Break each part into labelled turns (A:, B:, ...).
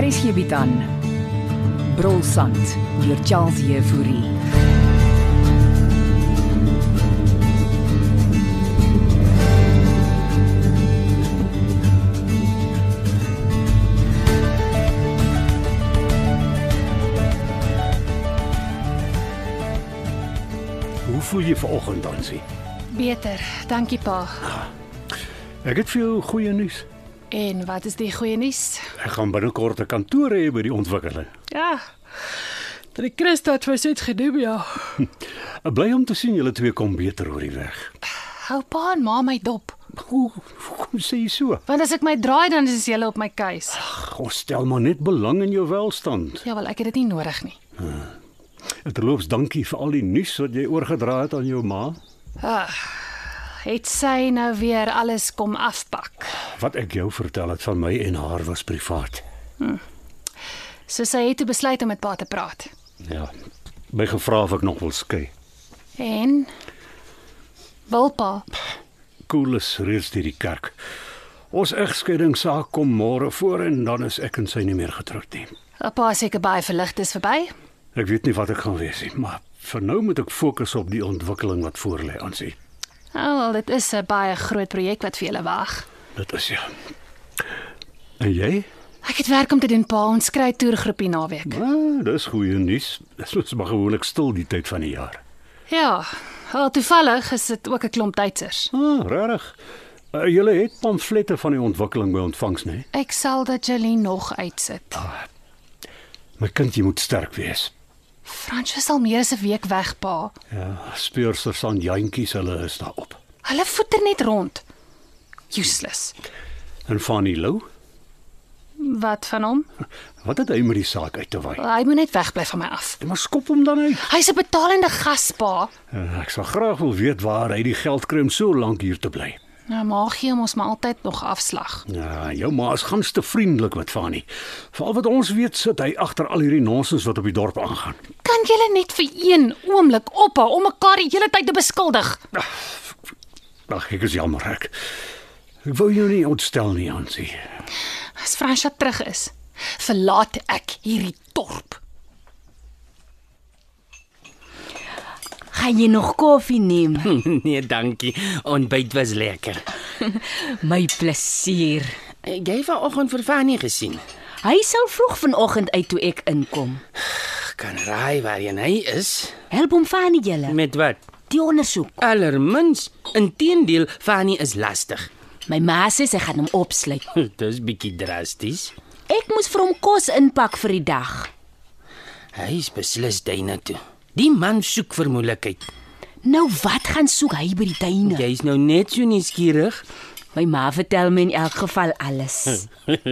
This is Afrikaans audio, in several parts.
A: Hier is hierby dan. Brolsand deur Charles Euphorie.
B: Hoe voel jy vanoggend dan sien?
C: Beter, dankie pa.
B: Ek het vir jou goeie nuus.
C: En wat is die goeie nuus?
B: Ek gaan binnekort 'n kantoor hê by die ontwikkeling.
C: Ja. Dat die Christa het vir sy het gedoen ja.
B: Ek bly om te sien julle twee kom beter oor die weg.
C: Hou pa en ma my dop,
B: Hoe kom sê jy so?
C: want as ek my draai dan is jy op my keus.
B: Ag, ons stel maar net belang in jou welstand.
C: Ja wel, ek het dit nie nodig nie.
B: Terloops, dankie vir al die nuus wat jy oorgedra het aan jou ma.
C: Het sy nou weer alles kom afpak.
B: Wat ek jou vertel het van my en haar was privaat.
C: So sy het toe besluit om met pa te praat.
B: Ja. My gevra of ek nog wil skei.
C: En wil pa.
B: Koel is reeds deur die kerk. Ons egskeiding saak kom môre voor en dan is ek en sy nie meer getroud nie.
C: Ja, Pa is seker baie verlig is verby.
B: Ek weet nie wat ek gaan wees nie, maar vir nou moet ek fokus op die ontwikkeling wat voor lê aan sy.
C: Nou wel, dit is 'n baie groot projek wat vir julle wag.
B: Dit is ja. En jy?
C: Ek het werk om te doen pa, ons kry toergroepie naweek.
B: Ah, dis goeie nuus. Dit is maar gewoonlik stil die tyd van die jaar.
C: Ja, al toevallig is dit ook 'n klomp Duitsers.
B: Ah, regtig. Uh, julle het pamflette van die ontwikkeling by ontvangs, né?
C: Ek sal dit Jolene nog uitsit.
B: My kind, jy moet sterk wees.
C: Frans is al meer as 'n week weg, pa.
B: Ja, speurser San Jantjies, hulle is daarop.
C: Hulle voeter net rond. Useless.
B: En Fanny Lou,
C: Wat van hom?
B: wat het hy met die saak uit te wy?
C: Hy moet net wegbly van my af.
B: Maar skop hom dan uit.
C: Hy's 'n betalende gas, pa.
B: Uh, ek sal graag wil weet waar hy die geld kry om so lank hier te bly.
C: Nou maak gee hom ons maar altyd nog afslag.
B: Ja, jou ma is gans te vriendelik wat van nie. Veral wat ons weet sit hy agter al hierdie nonsens wat op die dorp aangaan.
C: Kan julle net vir een oomblik ophou om mekaar die hele tyd te beskuldig?
B: Ag, ek is jammer ek. Ek wou jou nie ontstel nie, Ansie.
C: As Fransja terug is, verlaat ek hierdie dorp.
D: Gaan jy nog koffie neem?
E: Nee, dankie. Ontbyt was lekker.
D: My plesier.
E: Jy het vanoggend vir Fanny gesien.
D: Hy sal vroeg vanoggend uit toe ek inkom.
E: Ek kan raai waarheen hy is.
D: Help hom van julle.
E: Met wat?
D: Die ondersoek.
E: Allermins. Inteendeel, Fanny is lastig.
D: My ma sê sy gaan hom opsluit.
E: Dis bietjie drasties.
D: Ek moes vir hom kos inpak vir die dag.
E: Hy is beslis duine toe. Die man soek vir moeilikheid.
D: Nou wat gaan soek hy by die tuine?
E: Jy's nou net so nuuskierig.
D: My ma vertel my in elk geval alles.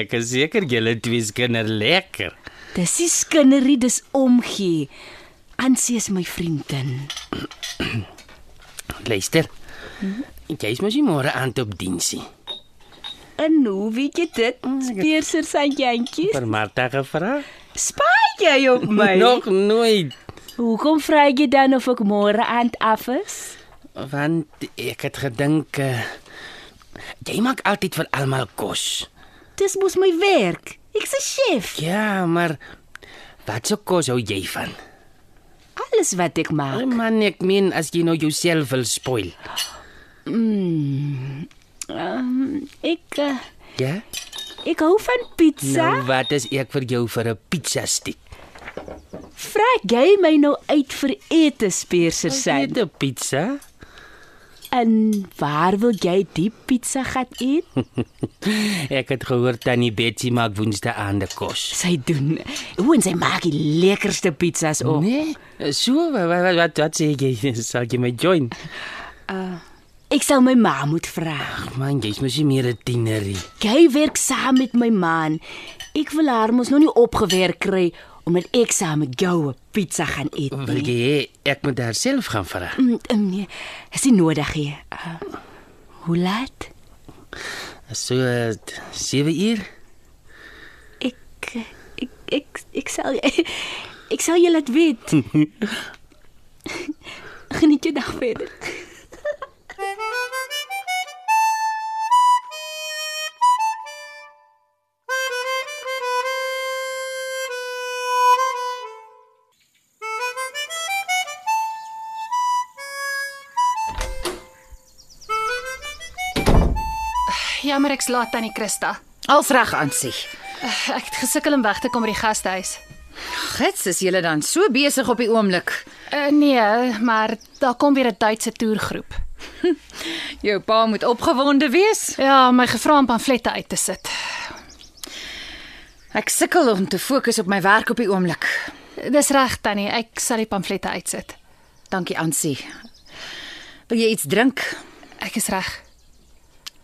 E: Ek is seker julle twee se kinders lekker.
D: Dis nie skinderie, dis omgee. Ansie is my vriendin.
E: Luister. Mhm. Jy's mos nie môre aand op diensie.
D: En hoe weet jy dit? Speerser sandjantjies.
E: Vir Martha gevra?
D: Spaai jy op my?
E: Nog nooit.
D: Hoekom vra jy dan of ek môre aand af is?
E: want ek het gedink uh, jy maak altyd vir almal kos.
D: Dis mos my werk. Ek's 'n chef.
E: Ja, maar wat so kos hou jy van?
D: Alles wat ek
E: Ag
D: maak.
E: man, ek meen as jy nou jouself wil spoil.
D: Ek eh,
E: Ja?
D: ek hou van pizza.
E: Nou wat is ek vir jou vir 'n pizza stiek?
D: Vra jy my nou uit vir ete speerser
E: Net
D: sand.
E: 'n pizza?
D: En waar wil jy die pizza gat eet?
E: Ek het gehoor tannie Betsy maak woensdae aande kos.
D: Sy doen. Hoe en sy maak die lekkerste pizzas op.
E: Nee, so wat wat wat, wat sê jy? Sal jy my join?
D: Ek sal my ma moet vra.
E: Ag man, jy's mos nie meer 'n tienerie.
D: Jy werk saam met my man. Ek wil haar mos nog nie opgewerk kry omdat ek saam met jou 'n pizza gaan eet
E: Wil
D: nie.
E: jy hê ek moet haar self gaan vra?
D: Mm, mm, Nee, is nie nodig hier. Uh, hoe laat?
E: So eh, 7 uur?
D: Ek ek ek ek sal ek sal jou laat weet. Geniet jou dag verder.
C: Jammer ek's laat tannie Christa.
F: Als reg aan sê.
C: Ek het gesukkel om weg te kom by die gastehuis.
F: Gits, is julle dan so besig op die oomblik.
C: Uh, nee, maar daar kom weer 'n Duitse toergroep.
F: Jou pa moet opgewonde wees.
C: Ja, my gevra om pamflette uit te sit.
F: Ek sukkel om te fokus op my werk op die oomblik.
C: Dis reg tannie, ek sal die pamflette uitsit.
F: Dankie, Ansie. Wil jy iets drink?
C: Ek is reg.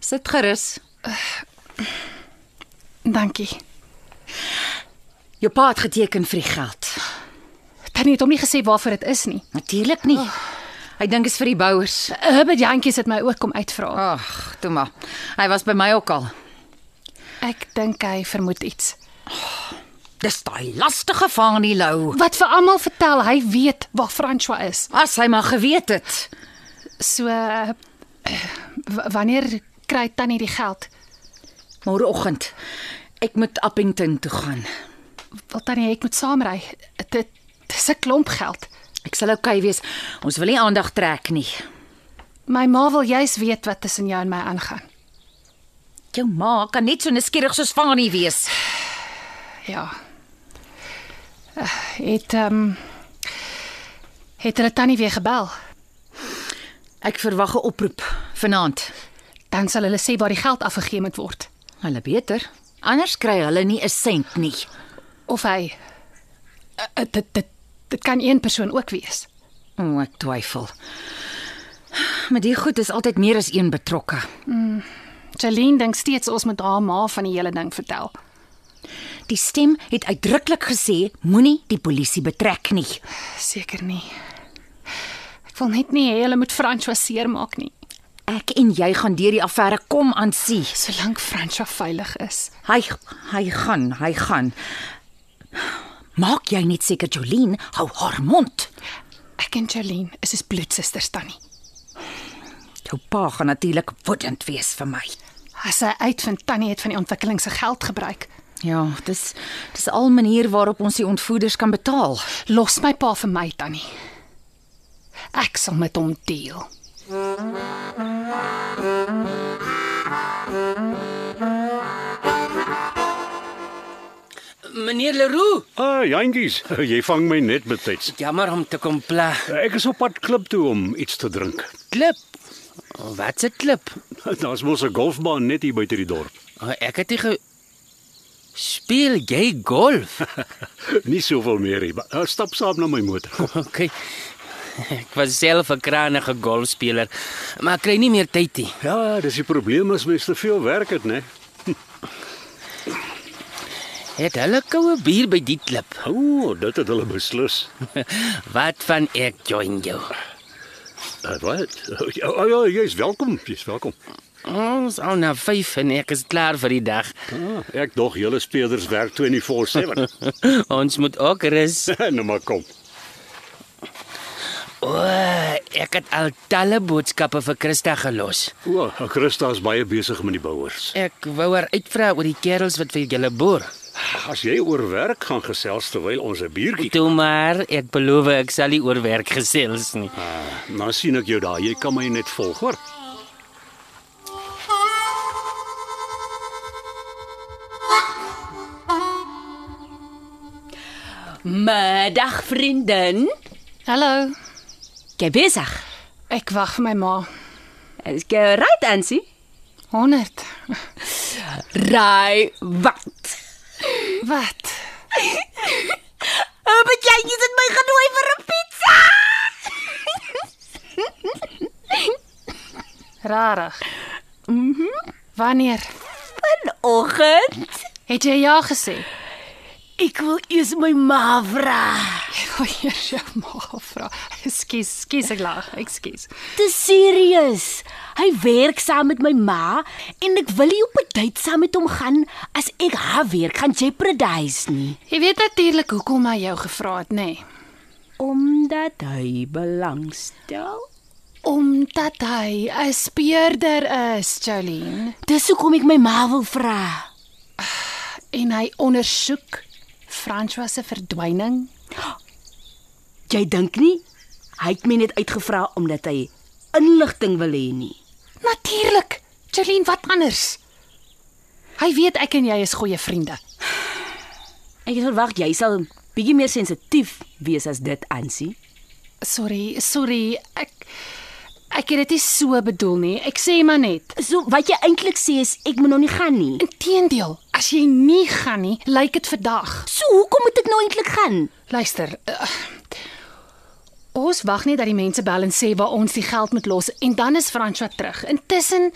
F: Sit gerus.
C: Dankie.
F: Jou pa het geteken vir die geld.
C: Tannie het hom nie gesê waarvoor dit is nie. Eh,
F: Natuurlik nie. Hy dink is vir die bouers.
C: Hubbard Jantjies het my ook kom uitvra.
F: Ag, toe maar. Hy was by my ook al.
C: Ek dink hy vermoed iets.
F: Dis daai lastige Fanie Lou.
C: Wat vir almal vertel, hy weet waar François is.
F: As hy maar geweet het.
C: So uh, w- wanneer kry tannie die geld?
F: Môreoggend ek moet Appington toe gaan.
C: Wil tannie ek moet saamry? Dit dis 'n klomp geld.
F: Ek sal oukei okay wees. Ons wil nie aandag trek nie.
C: My ma wil juis weet wat tussen jou en my aangaan.
F: Jou ma kan net so nuuskierig soos Fanie wees.
C: Ja. Uh, het ehm um, het hulle tannie weer gebel?
F: Ek verwag 'n oproep vanaand.
C: Dan sal hulle sê waar die geld afgegee moet word.
F: Hulle beter. Anders kry hulle nie 'n sent nie.
C: Of hy uh, uh, dit dit dit kan een persoon ook wees.
F: O, ek twyfel. Maar die goed is altyd meer as een betrokke.
C: Celine dink steeds ons moet haar ma van die hele ding vertel.
F: Die stem het uitdruklik gesê moenie die polisie betrek nie.
C: Seker nie. Ek wil net nie hê hulle moet François seermaak nie,
F: Ek en jy gaan deur die affære kom aan sien.
C: solank François veilig is.
F: Hy hy gaan, hy gaan. Maak jy net seker Jolien hou haar mond.
C: Ek en Charlene is soos bloedsusters tannie.
F: Jou pa gaan natuurlik woedend wees vir my.
C: As hy uitvind tannie het van die ontwikkeling se geld gebruik,
F: Ja, dis dis al manier waarop ons die ontvoerders kan betaal.
C: los my pa vir my tannie. Ek sal met hom deel.
E: Meneer Leroux,
B: Ah, Jantjies, jy vang my net betyds.
E: jammer om te kom pla.
B: Ek is op pad klip toe om iets te drink.
E: Klip. Wat 'n klip?
B: Daar's mos 'n golfbaan net hier buite die dorp.
E: O, Ek het nie ge... speel jy golf.
B: Nie soveel meer nie. maar, eh, Stap saam na my motor.
E: OK. Ek was self 'n krangige golfspeler, maar ek kry nie meer tyd nie.
B: Ja, dis die probleem as mens te veel werk het, né?
E: Het hulle koue bier by die klip.
B: O, oh, dit het hulle beslis.
E: Wat van ek join jou?
B: Eh, Wat? Ja, oh, ja, jy's welkom, jy's welkom.
E: Ons al na 5 en ek is klaar vir die dag.
B: Ah, ek dog julle spelers werk 24/7.
E: Ons moet ook rus.
B: nou maar kom.
E: O, ek het al talle boodskappe vir Christa gelos.
B: O, Christa is baie besig met die bouers.
E: Ek wou haar uitvra oor die kerels wat vir julle boer.
B: As jy oor werk gaan gesels terwyl ons 'n biertjie
E: Toe maar, ek beloof ek sal nie oor werk gesels nie.
B: Nou sien ek jou daar. Jy kan my net volg, hoor.
D: Middag vriendin.
C: Hallo.
D: Jy besig?
C: Ek wag vir my ma.
D: Is jy right, Ansie?
C: 100.
D: Ry wat?
C: Wat?
D: Oh, maar jy het my genooi vir 'n pizza.
C: Rarig. Mhm. Wanneer?
D: Vanoggend
C: Het jy ja gesê?
D: Ek wil eers my ma vra.
C: Wou eers jou ma vra. Ekskuus, ekskuus ek lag. Ekskuus.
D: Dis serieus. Hy werk saam met my ma en ek wil nie op 'n date saam met hom gaan as ek haar werk gaan jeopardize nie,
C: Jy weet natuurlik hoekom hy jou gevra het, nê? Nee.
D: omdat hy belangstel.
C: Omdat hy 'n speurder is, Jolene,
D: Dis hoekom ek my ma wil vra.
C: en hy ondersoek François se verdwyning.
D: Jy dink nie hy het my net uitgevra omdat hy inligting wil hê nie.
C: Natuurlik. Jolene, wat anders? Hy weet ek en jy is goeie vriende.
D: Ek het verwag jy sal bietjie meer sensitief wees as dit, Ansie.
C: Sorry, sorry. Ek ek het dit nie so bedoel nie. Ek sê maar net.
D: So wat jy eintlik sê is ek moet nog nie gaan nie.
C: Inteendeel, as jy nie gaan nie, lyk dit vandag.
D: So hoekom moet ek nou eintlik gaan?
C: Luister. Uh, ons wag net dat die mense bel en sê waar ons die geld moet los en dan is Franswa terug. Intussen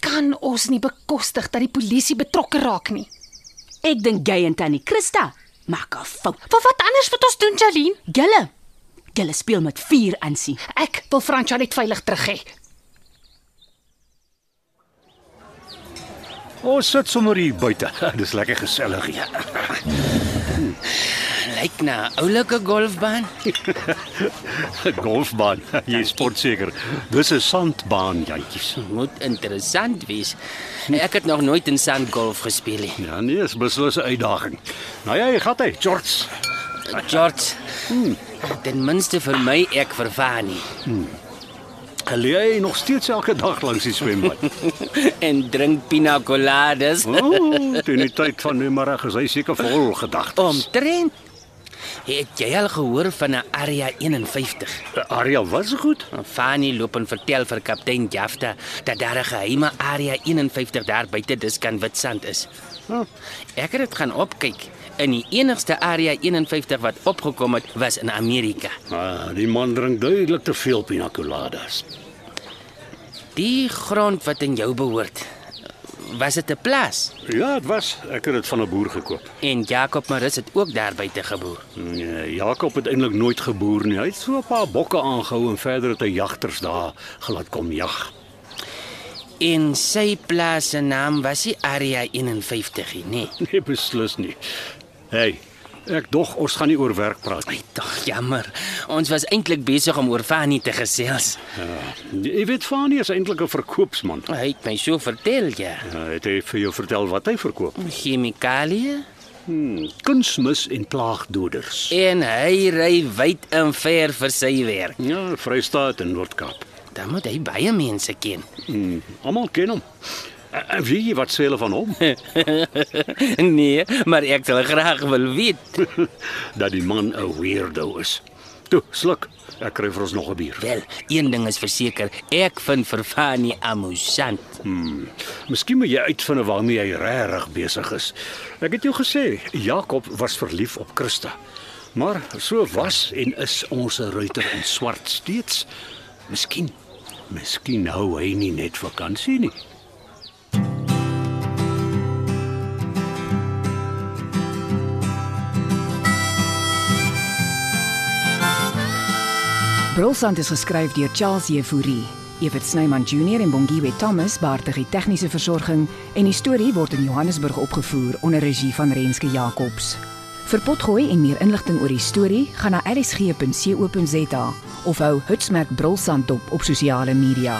C: kan ons nie bekostig dat die polisie betrokke raak nie.
D: Ek dink jy en Tannie Christa maak 'n fout.
C: Maar wat anders moet ons doen, Jaline?
D: Julle, julle speel met vuur aansie.
C: Ek wil Franswa net veilig terug hê.
B: Ons sit sommer hier buite. Dis lekker gesellig hier.
E: Lyk na 'n oulike golfbaan.
B: 'n Golfbaan. Jy sport seker. Dis 'n sandbaan, jantjies.
E: Moet interessant wees. Ek het nog nooit in sandgolf gespeel nie.
B: Ja nee, is beslis 'n uitdaging. Nou ja, jy gaan hy, George.
E: George. Hmm. Ten minste vir my ek vervaar nie
B: Lê jy nog steeds elke dag langs die swembad?
E: en drink pina coladas.
B: Ooh, teen die tyd van nou middag is hy seker vol gedagtes.
E: Omtrent. Het jy al gehoor van 'n Area 51?
B: Ariel Eh, was goed.
E: Fanny loop en vertel vir kaptein Jafta dat daar 'n geheime area 51 daar buite Diskan Witstrand is. Hm, Ek het dit gaan opkyk. In die enigste area 51 wat opgekom het, was in Amerika.
B: Ah, die man drink duidelik te veel pina coladas.
E: Die grond wat aan jou behoort, was dit 'n plaas
B: Ja, dit was. Ek het dit van 'n boer gekoop.
E: en Jakob Marus het ook daar buite geboer.
B: Nee, Jakob het eintlik nooit geboer nie. Hy het so 'n paar bokke aangehou en verder het hy jagters daar gelaat kom jag.
E: En sy plaas se naam was nie Area 51 nie, nee.
B: Nee, beslis nie. Hey, ek dog ons gaan nie oor werk praat nie.
E: Ai, tog jammer. Ons was eintlik besig om oor Fanny te gesels.
B: Ja, jy weet Fanie is eintlik 'n verkoopsman.
E: Hy het my so vertel, ja.
B: Uh, het hy vir jou vertel wat hy verkoop?
E: Chemikalieë
B: Hmm, kunsmis en plaagdoders.
E: en hy ry wyd en ver vir sy werk.
B: Ja, Vrystaat en Noord-Kaap.
E: Dan moet hy baie mense ken.
B: Hmm, almal ken hom. Eh, En- En wie wat sê hulle van hom?
E: nee, maar ek sal graag wil weet.
B: dat die man 'n weirdo is. Toe, sluk. Ek kry vir ons nog 'n bier.
E: Wel, een ding is verseker, ek vind vir Fanny amusant.
B: Miskien moet jy uitvind waarmee hy regtig besig is. Ek het jou gesê, Jakob was verlief op Christa. Maar so was en is ons ruiter in swart steeds. Miskien, miskien hou hy nie net vakansie nie.
A: Brolsand is geskryf deur Charles Jefouri. Evert Snyman Junior en Bongwe Thomas baartig die tegniese versorging en die storie word in Johannesburg opgevoer onder regie van Renske Jacobs. Vir potgooi en meer inligting oor die storie, gaan na rsg.co.za of hou Hutsmerk Brolsand dop op sosiale media.